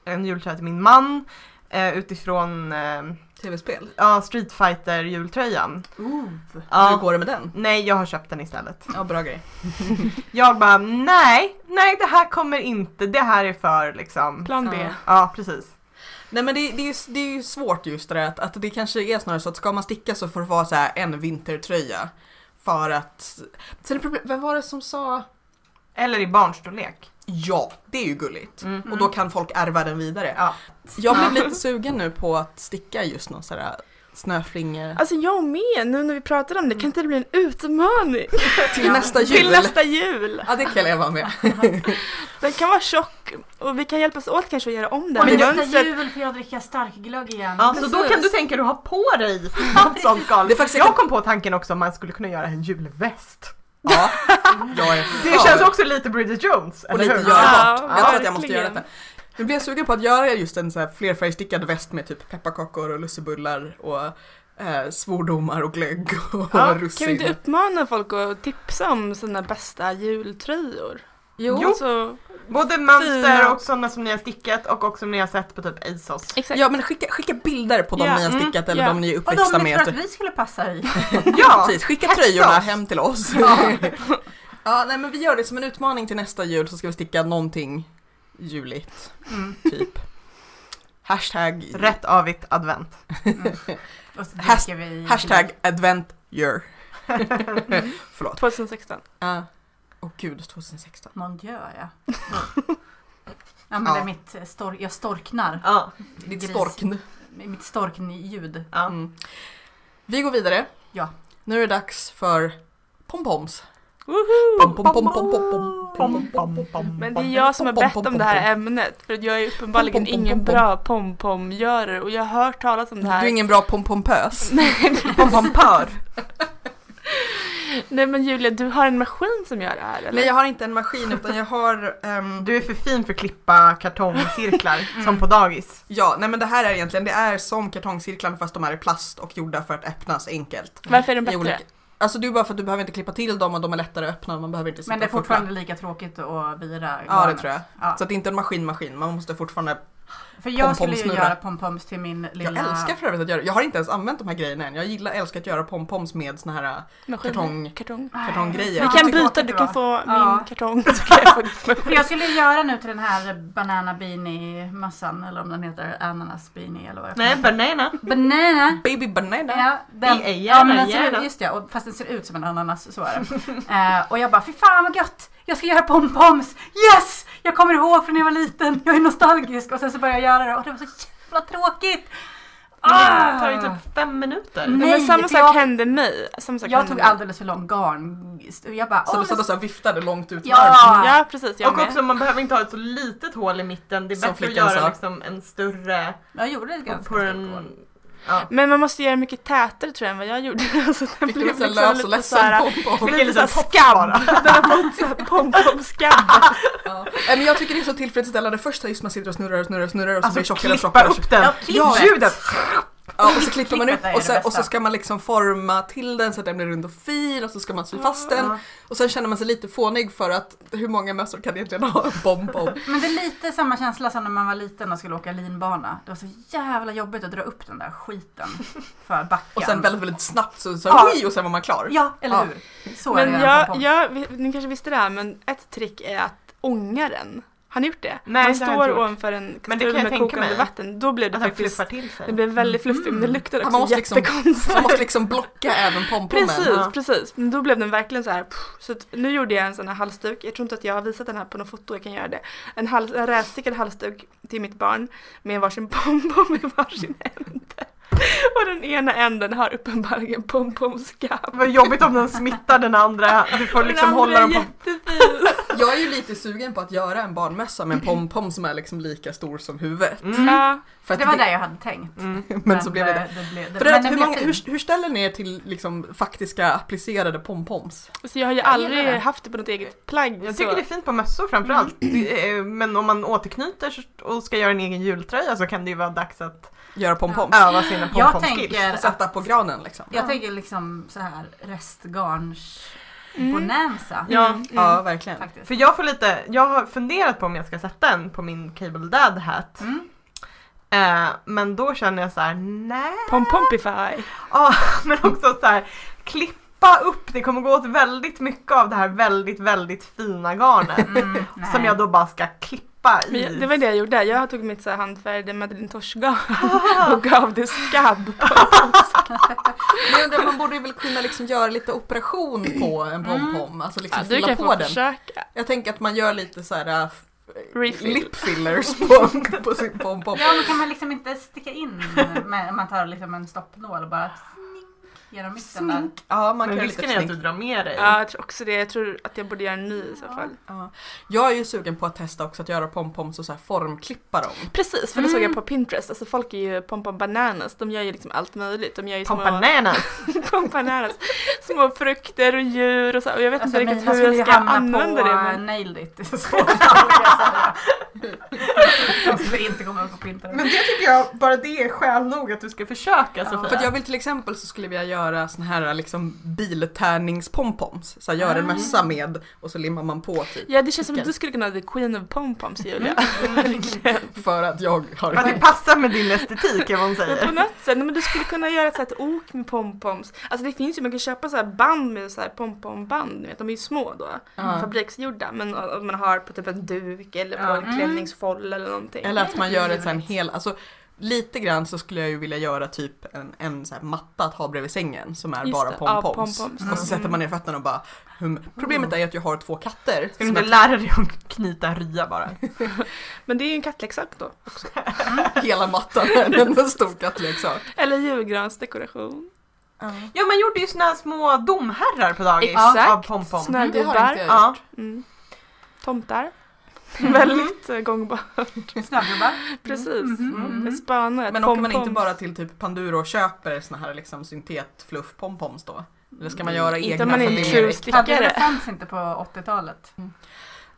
en jultröja till min man eh, utifrån eh, Tv-spel. ja, Street Fighter jultröjan. Ooh. Hur Ja, går det med den? nej, jag har köpt den istället. Ja, bra grej. Jag bara nej, nej det här kommer inte, det här är för liksom. plan B. Ja. Ja, precis. Nej men det, det, är, ju- det är ju svårt just det där att, att det kanske är snarare så att ska man sticka så får det vara så här en vintertröja. För att... Sen är problem, vem var det som sa... Eller i barnstorlek. Ja, det är ju gulligt. Mm. Och då kan folk ärva den vidare. Ja. Jag blev lite sugen nu på att sticka just någon sån här snöflinge Alltså jag med, nu när vi pratar om det, kan inte det bli en utmaning? Alltså, till nästa jul. Till nästa jul! Ja, det kan jag leva med. Den kan vara tjock och vi kan hjälpas åt kanske att göra om den. Och Men nästa mönstret- jul får jag dricka starkglögg igen. Ja, så då kan du tänka dig att ha på dig något sånt Det är galet. faktiskt- Jag kom på tanken också om man skulle kunna göra en julväst. Ja, jag är för. Det känns också lite Bridget Jones, Och eller lite hur? görbart. Ja, jag tror att jag måste verkligen. göra detta. Nu blir jag sugen på att göra just en så här flerfärgstickad väst med typ pepparkakor och lussebullar och eh, svordomar och glögg och Ja, Kan russin. vi inte uppmana folk att tipsa om sina bästa jultröjor? Jo. Alltså, Både mönster Fina. och sådana som ni har stickat och också som ni har sett på typ ASOS. exakt. Ja men skicka, skicka bilder på de Ja, ni har mm, stickat eller ja. de ni är Och de uppväxta ni tror att med. typ. vi skulle passa i. Ja! Precis, skicka Hexa tröjorna oss. hem till oss. Ja. nej men vi gör det som en utmaning till nästa jul så ska vi sticka någonting juligt, Mm. typ. Hashtag, Rätt avigt advent. Och så Mm. Has- dricker vi hashtag advent year. Förlåt. 2016. Ja. Åh gud, 2016. Mon dieu, ja. ja, men det Ja. är mitt eh, stor- jag storknar. Ja. Ditt Gris. storkn. Mitt storknljud. ja. Mm. Vi går vidare. Ja. Nu är det dags för pompoms. Woho! Pom, pom, pom, pom, pom, pom, pom, pom, pom. Men det är jag som har Pom, pom, bett pom, om det pom, här ämnet för att jag är uppenbarligen Pom, pom, pom, ingen pom. bra pom-pom-görare och jag har hört talas om Du det är här. ingen bra pompompös. Pompompör. Nej men Julia, du har en maskin som gör det här eller? Nej, jag har inte en maskin utan jag har... ehm, Du är för fin för att klippa kartongcirklar som på dagis. ja, nej men det här är egentligen, det är som kartongcirklarna fast de är i plast och gjorda för att öppnas enkelt. Varför är den I bättre? olika- Alltså du bara för att du behöver inte klippa till dem och de är lättare att öppna. Man behöver inte sitta Men det är och fortfarande- fortfarande lika tråkigt att vira Ja, det garnet. tror jag. Ja. Så att det är inte en maskin-maskin, man måste fortfarande... För jag skulle ju pompomsnurra. göra pompoms till min lilla... Jag älskar för övrigt att göra Jag har inte ens använt de här grejerna än. Jag gillar, älskar att göra pompoms med såna här... äh, Maskin. kartong. kartong. Nej, kartonggrejer. Vi Ja, fan, kan vad byta, tråkigt du det kan var. få Ja. min kartong så kan jag få din För jag skulle göra nu till den här banana beanie-mössan, eller om den heter ananas beanie eller vad det är. Nej, banana. Banana! Baby banana! Ja, den, I- i- ja, men den gärna, ser gärna. ut, just det, och, fast den ser ut som en ananas, så är det. Eh, och jag bara, fy fan vad gött! Jag ska göra pompoms! Yes! Jag kommer ihåg från när jag var liten, jag är nostalgisk! Och sen så började jag göra det och det var så jävla tråkigt! Det tar ju Ah. typ fem minuter. Mm. Nej, men Nej, samma för sak jag- hände mig. Samma sak Jag hände tog mig. alldeles för lång garn. Jag bara, Så åh, du satt och så här viftade långt ut med armen. Ja! Ja, precis. Jag Och med. också man behöver inte ha ett så litet hål i mitten. Det är Som bättre att flickan sa. göra liksom en större Jag gjorde det ganska på stort en... hål. Ja. Men man måste göra mycket tätare tror jag än vad jag gjorde. Alltså, den Fick blev du en liksom sån här lös och lite så ledsen här- pompom? Fick en Lite såhär liten topp skam. bara. Den har fått såhär pom-pom-skam. Ja. Nej, Äh, Men jag tycker det är så tillfredsställande först här just man sitter och snurrar och snurrar och snurrar och så blir det Alltså tjockare och klippa tjockare. och upp den. Ja, klippet. Ljudet. tjockare. Ja, och så klipper man upp Klippet är och, det sen, och så bästa. ska man liksom forma till den så att den blir rund och fin och så ska man sy fast Mm. den. Ja. Och sen känner man sig lite fånig för att hur många mössor kan egentligen ha en pompom? Men det är lite samma känsla som när man var liten och skulle åka linbana. Det var så jävla jobbigt att dra upp den där skiten för backen. Och sen väldigt, väldigt snabbt så, så Ja. oj, och sen var man klar. Ja, eller Ja. hur? Så är Men det jag, jag, vi- ni kanske visste det här men ett trick är att ånga den. Har ni gjort det? Nej, man det har jag inte står gjort. ovanför en Men det kan kastrull jag med tänka kokande mig. vatten. Då blir det Att den faktiskt, fluffar till sig. det blir väldigt fluffigt men det Mm. luktar Ja, också man måste liksom- jättekonstigt. Man måste liksom blocka även pompomen. Precis, Ja. precis. Men då blev den verkligen så här. pff, Så att nu gjorde jag en sån här halsduk. Jag tror inte att jag har visat den här på något foto. Jag kan göra det. En, hals, en rätstickad halsduk till mitt barn med varsin bonbon med varsin ände. Och den ena änden har uppenbarligen pompomskaft. Vad jobbigt om den smittar den andra. Du får liksom hålla dem på... jättefin. Jag är ju lite sugen på att göra en barnmössa med en pompom som är liksom lika stor som huvudet. Mm. Ja. För att Det var det jag hade tänkt. Mm. Men så blev det. eh, det blev, det, För att, men den hur, blev många, fin. hur, hur ställer ni er till liksom, faktiska applicerade pompoms? Så Alltså, jag har ju gillar aldrig det. haft det på något eget plagg. Jag så. tycker det är fint på mössor framförallt. Det är- Men om man återknyter och ska göra en egen jultröja så kan det ju vara dags att Göra pompoms? öva sina Jag pompomskills. tänker Och sätta på granen liksom? Jag Ja. tänker liksom så här restgarns-bonanza. Mm. Ja. Mm. Ja, verkligen. Faktiskt. För jag får lite, jag har funderat på om jag ska sätta en på min Cable Dad hat. Mm. Eh, men då känner jag så här: nej. Pompompify. Ja, men också så här, klippa upp, det kommer gå åt väldigt mycket av det här väldigt, väldigt fina garnet. Mm, som jag då bara ska klippa Men i. jag, det var det jag gjorde. Jag tog mitt så här handfärgade madelinetosh-garn och gav det skabb. Men jag undrar, man borde ju väl kunna liksom göra lite operation på en pompom, alltså liksom Ja, du fylla kan på få den. försöka. Jag tänker att man gör lite så här äh, Refill. lip fillers på, på sin pompom. Ja men kan man liksom inte sticka in med, man tar liksom en stoppnål och bara snick genom mitten där. Smink. Ja, man men kan göra lite risken är att du smink. drar med dig. Ja, jag tror också det. Jag tror att jag borde göra en ny i så Ja. fall. Ja. Jag är ju sugen på att testa också att göra pompoms och så här formklippa dem. Precis, för det Mm. såg jag på Pinterest. Alltså folk är ju pompom bananas. De gör ju liksom allt möjligt. De gör ju små, Pompananas. pom bananas, små frukter och djur och så. Och jag vet Alltså inte mina riktigt hur skulle ju jag ska hamna på använda det. det, Men... nailed it i så fall. kan jag säga. De skulle inte komma upp på Men Pinterest. det tycker jag, bara det är skäl nog att du ska försöka Ja. Sofia. För att jag vill till exempel så skulle jag vilja göra såna här liksom biltärningspompoms. Så här, gör en Ah. Mm. mössa med och så limmar man på typ. Ja, det känns som att du skulle kunna vara the queen of pompoms Julia. Mm. Verkligen. För att jag har... För att det passar med din estetik är vad hon Men på säger. något sätt, nej, men du skulle kunna göra ett, så här, ett ok med pompoms. Alltså det finns ju, man kan köpa så här band med så här pompomband, ni vet, de är ju små då. Ja. Fabriksgjorda, men om man har på typ en duk eller på Ja. en Mm. klänningsfoll eller någonting. Eller att man gör ett sån hel, alltså lite grann så skulle jag ju vilja göra typ en, en så här matta att ha bredvid sängen som är Just bara det, ja, pompoms. pompoms. Och så sätter man ner fötterna och bara hum. Problemet är ju att jag har två katter. Mm. Ska du Som inte jag lära dig att knyta en rya bara? Men det är ju en kattleksak då. hela mattan är en enda stor kattleksak. Eller julgransdekoration. Ja man gjorde ju såna här små domherrar på dagis Exakt. av pompom. Det har inte Snögubbar. jag Ja. gjort. Mm. Tomtar. Väldigt eh, gångbar. Snögubbar. Precis. Mm. Jag spanar att Men åker man pompoms- inte bara till typ Panduro och köper såna här liksom syntetfluff-pompoms då? Eller ska man göra Mm. Inte egna? om man är för en det true direkt? stickare. Det fanns inte på 80-talet.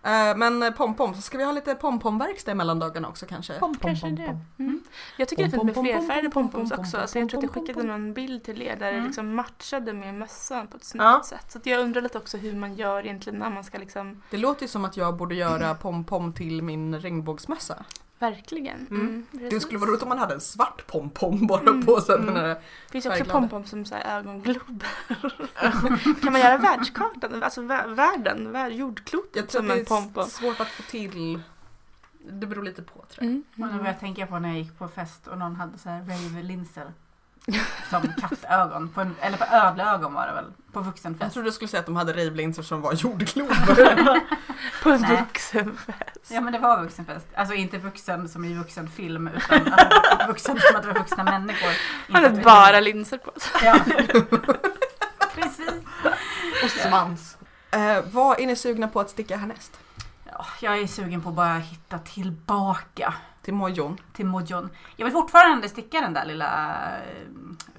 Eh, Men eh, pompoms, ska vi ha lite pompomverkstad mellan dagarna också kanske? Pom, pom, Kanske pom, det. pom. Mm. Jag tycker det är Pom, fint med pom, pom, flerfärgade pom, pom, pompoms pom, pom, också, så jag tror att jag pom, skickade pom. någon bild till er där det Mm. liksom matchade med mössan på ett snyggt Ja. sätt. Så att jag undrar lite också hur man gör egentligen när man ska liksom Det låter ju som att jag borde göra pompom till min regnbågsmössa. verkligen. Mm. Det precis. skulle vara roligt om man hade en svart pompom bara Mm. på sig. Mm. Den här. Det finns ju också färgglada. pompoms som så här ögonglober. kan man göra världskartan, alltså vä- världen, vär- Jag jordklotet tror som en att det är pompom? s- svårt att få till. Det beror lite på tror jag. Mm. Och nu börjar jag tänka på när jag gick på fest och någon hade så här rave-linser. Som kattögon. På en, eller på ödleögon var det väl? På Jag vuxenfest. trodde du skulle säga att de hade rejvlinser som var jordglober. På en Nej. vuxenfest. Ja men det var vuxenfest. Alltså inte vuxen som i vuxenfilm utan alltså, vuxen som att det var vuxna människor. Han Inte- hade bara linser på sig. Ja. Precis. Och svans. eh, vad är ni sugna på att sticka härnäst? Ja, jag är sugen på att bara hitta tillbaka Till mojon? till mojon. Jag vill fortfarande sticka den där lilla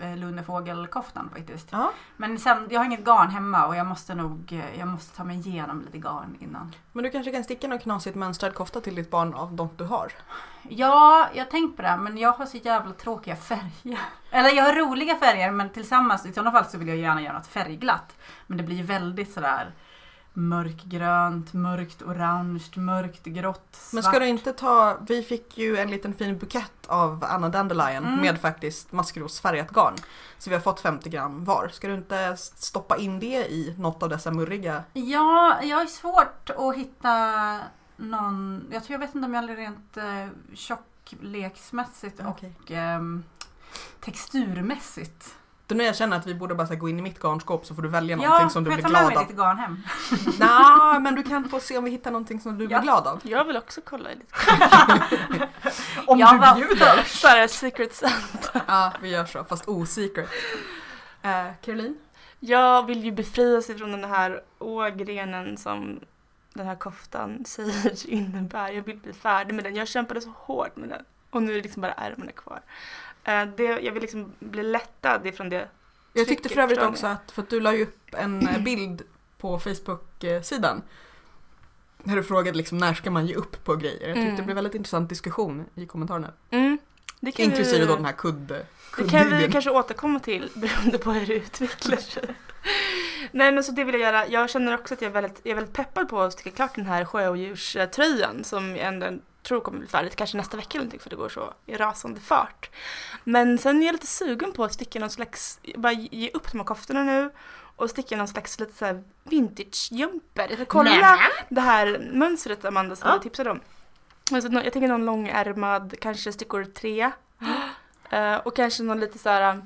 eh, lunnefågelkoftan faktiskt. Ja. Men sen, jag har inget garn hemma och jag måste nog eh, jag måste ta mig igenom lite garn innan. Men du kanske kan sticka någon knasigt mönstrad kofta till ditt barn av något du har? Ja, jag har tänkt på det här, men jag har så jävla tråkiga färger. Eller jag har roliga färger men tillsammans i sådana fall så vill jag gärna göra något färgglatt. Men det blir ju väldigt sådär mörkgrönt, mörkt orange, mörkt grått, svart. Men ska du inte ta, vi fick ju en liten fin bukett av Anna Dandelion Mm. med faktiskt maskrosfärgat garn. Så vi har fått 50 gram var. Ska du inte stoppa in det i något av dessa murriga? Ja, jag är svårt att hitta någon. Jag tror jag vet inte om jag är rent eh, Mm. tjockleksmässigt och Okej. ehm, texturmässigt Det är nu jag känner att vi borde bara så här, gå in i mitt garnskåp så får du välja Ja, någonting som du får blir jag ta med glad mig av. ditt garn hem? Nja, men du kan få se om vi hittar någonting som du Ja. blir glad av. Jag vill också kolla i lite. Om Jag du var bjuder. Såhär secret Santa. Ja, vi gör så, fast osecret. Eh, Caroline? Jag vill ju befria sig från den här ågrenen som den här koftan säger innebär. Jag vill bli färdig med den. Jag kämpade så hårt med den. Och nu är det liksom bara ärmarna kvar. Eh, Det, jag vill liksom bli lättad ifrån det. Jag tyckte för övrigt Trycket. också att, för att du la ju upp en eh, bild på Facebook-sidan. När du frågade liksom när ska man ge upp på grejer. Jag tyckte Mm. det blev väldigt intressant diskussion i kommentarerna. Mm, det kan Inklusive vi, då den här kudd, Det kan vi kuddidén. kanske återkomma till beroende på hur det utvecklar sig. Nej men så det vill jag göra. Jag känner också att jag är väldigt, jag är väldigt peppad på att sticka klart den här sjöodjurströjan som jag ändå tror kommer bli färdigt kanske nästa vecka eller någonting för det går så i rasande fart. Men sen är jag lite sugen på att sticka någon slags, bara ge upp de här koftorna nu och sticka någon slags lite så här vintage-jumper. Jag ska kolla det här mönstret Amanda som Ja. du tipsade om. Alltså, nå- jag tänker någon långärmad, kanske stickor tre. Eh, och kanske någon lite så här um,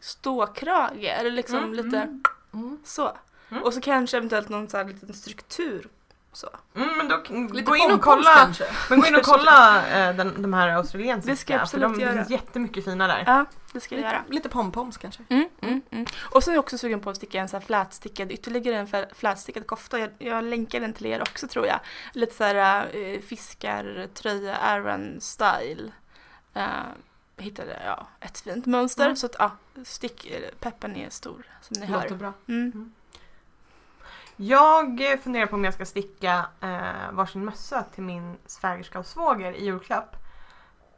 ståkrage eller liksom Mm, lite Mm. så. Mm. Och så kanske eventuellt någon så här liten struktur. Så. Mm, men då, Lite gå in och pompons kolla, kanske. men gå in och kolla eh, den, de här australiensiska. Det ska jag för absolut de, Det göra. finns jättemycket fina där. Ja, det ska jag Lite, göra. lite pompoms kanske. Mm, mm, mm. Och så är jag också sugen på att sticka en så här flätstickad, ytterligare en fä- flätstickad kofta. Jag, jag länkar den till er också tror jag. Lite så här eh, fiskartröja, Aaron style. Eh, hittade ja, ett fint mönster. Mm. Så att ja, stick, eh, peppen är stor som ni Låter hör. bra. Mm. Jag eh, funderar på om jag ska sticka eh, varsin mössa till min svägerska och svåger i julklapp.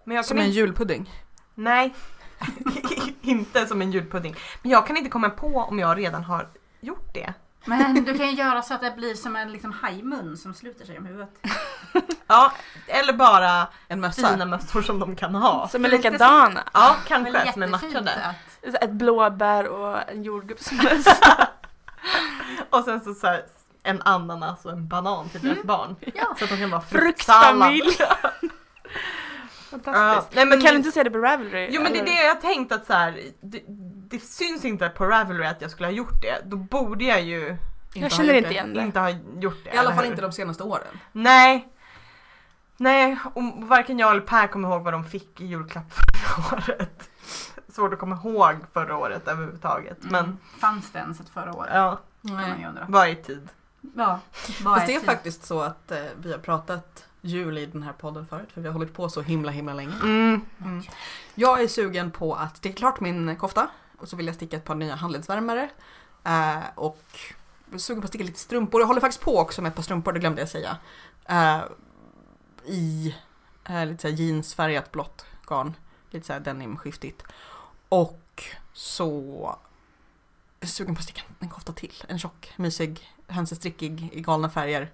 Men jag Som kan en inte, julpudding. Nej, inte som en julpudding. Men jag kan inte komma på om jag redan har gjort det. Men du kan ju göra så att det blir som en liksom hajmun som sluter sig om huvudet. Ja, eller bara En fina mössa. mössor som de kan ha. Som är Lite likadana. Ja, Det är väl kanske som är jättefint matchade. att- Så Ett blåbär och en jordgubbsmöss. Och sen så, så här, en ananas och en banan till deras barn. Ja. Så att de kan vara fruktsallad. Fruktfamilj. Ja, Fantastiskt. nej, men, Men kan du inte säga det på Ravelry? Jo men det är det jag tänkt att så här, det, det syns inte på Ravelry att jag skulle ha gjort det. Då borde jag ju Jag har känner gjort inte det. igen det. inte ha gjort det. I alla eller fall hur? inte de senaste åren. Nej. Nej, och varken jag eller Per kommer ihåg vad de fick i julklapp förra året. Svårt att komma ihåg förra året överhuvudtaget. Men Mm. Fanns det ens ett förra året? ja, Kan man ju undra. var i tid. Ja, vad typ- Fast det är tid? faktiskt så att eh, vi har pratat jul i den här podden förut för vi har hållit på så himla himla länge. Mm. Jag är sugen på att sticka klart min kofta och så vill jag sticka ett par nya handledsvärmare. Eh, och jag är sugen på att sticka lite strumpor. Jag håller faktiskt på också med ett par strumpor, det glömde jag säga. Eh, I eh, lite så här jeansfärgat blått garn. Lite så här denimskiftigt. Och så är jag sugen på att sticka en kofta till. En tjock, mysig, hönsestrickig i galna färger.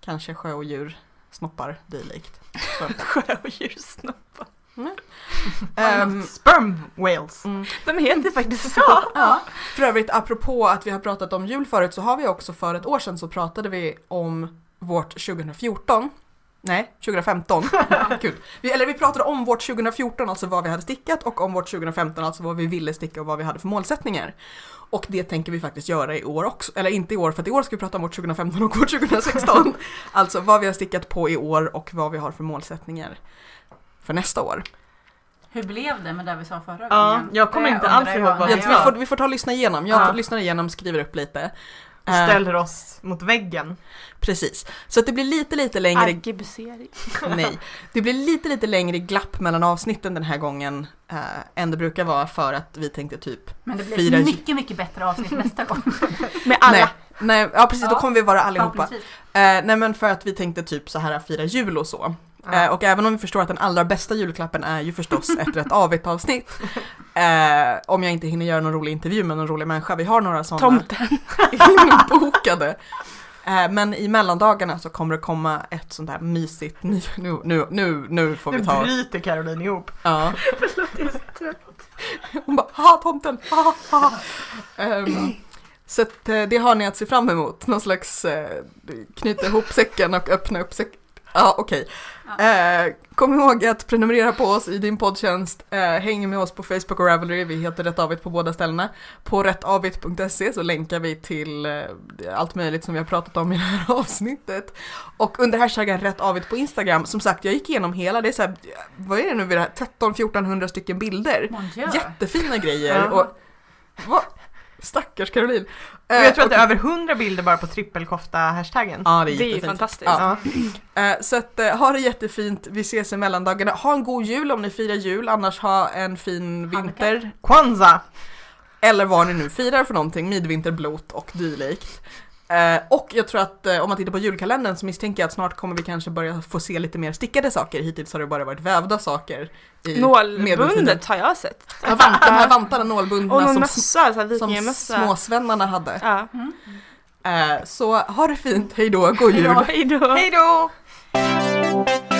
Kanske sjö och djur, snoppar, dylikt. Mm. Sjöodjurssnoppar. Ehm, Sperm whales. mm. De heter faktiskt så. Ja. För övrigt, apropå att vi har pratat om jul förut så har vi också för ett år sedan så pratade vi om vårt 2014. Nej, 2015. Kul. Vi, eller vi pratade om vårt 2014, alltså vad vi hade stickat och om vårt 2015, alltså vad vi ville sticka och vad vi hade för målsättningar. Och det tänker vi faktiskt göra i år också, eller inte i år för att i år ska vi prata om vårt 2015 och vårt 2016. Alltså vad vi har stickat på i år och vad vi har för målsättningar för nästa år. Hur blev det med det vi sa förra Ja, gången? jag kommer Det inte alls undrar ihåg jag vad Vi, när vi, jag- får, vi får ta och lyssna igenom, jag Ja. lyssnar igenom, skriver upp lite. Och Eh, ställer oss mot väggen. Precis. Så att det blir lite, lite längre... Arkebusering. Nej. Det blir lite, lite längre glapp mellan avsnitten den här gången eh, än det brukar vara för att vi tänkte typ... Men det blir Fira ett jul. mycket, mycket bättre avsnitt nästa gång. Med alla. Nej, nej, ja precis, då Ja, kommer vi vara allihopa. Eh, Förhoppningsvis. nej men för att vi tänkte typ så här fira jul och så. Eh, Ja. och även om vi förstår att den allra bästa julklappen är ju förstås ett rätt avigt avsnitt. Eh, om jag inte hinner göra någon rolig intervju med någon rolig människa, vi har några sådana. Tomten. inbokade. Eh, Men i mellandagarna så kommer det komma ett sånt här mysigt, ny- nu, nu, nu, nu får Nu vi ta... bryter Caroline ihop. Ja. Hon bara, ha tomten, ha, ha, ha. Ehm, Så att eh, det har ni att se fram emot, någon slags eh, knyta ihop säcken och öppna upp säcken. Ja, okej. Ja. Eh, kom ihåg att prenumerera på oss i din poddtjänst. Eh, häng med oss på Facebook och Ravelry. Vi heter Rätt Avigt på båda ställena. På rättavigt.se så länkar vi till eh, allt möjligt som vi har pratat om i det här avsnittet. Och under hashtaggen Rätt Avigt på Instagram, som sagt, jag gick igenom hela, det är så här, vad är det nu vid det här, 13-1400 stycken bilder. Mon Dieu. Jättefina grejer. Ja. Och, vad? Stackars Caroline. Och jag tror att det är Eh, och- över 100 bilder bara på trippelkofta-hashtaggen. Ja, det är Det är ju jättefint. fantastiskt. Ja. Ja. Eh, Så att, eh, ha det jättefint, vi ses i mellandagarna. Ha en god jul om ni firar jul, annars ha en fin Hanukkah. vinter. Kwanzaa! Eller vad ni nu firar för någonting, midvinterblot och dylikt. Eh, Och jag tror att eh, om man tittar på julkalendern så misstänker jag att snart kommer vi kanske börja få se lite mer stickade saker. Hittills har det bara varit vävda saker. i medeltiden. Nålbundet har jag sett. Ja, vant, de här vantarna, nålbundna Och någon som, mössa, s- så här som vikingamössa. småsvennarna hade. Ja. Mm. Eh, Så ha det fint, hej då, god jul! Hejdå. Hej då!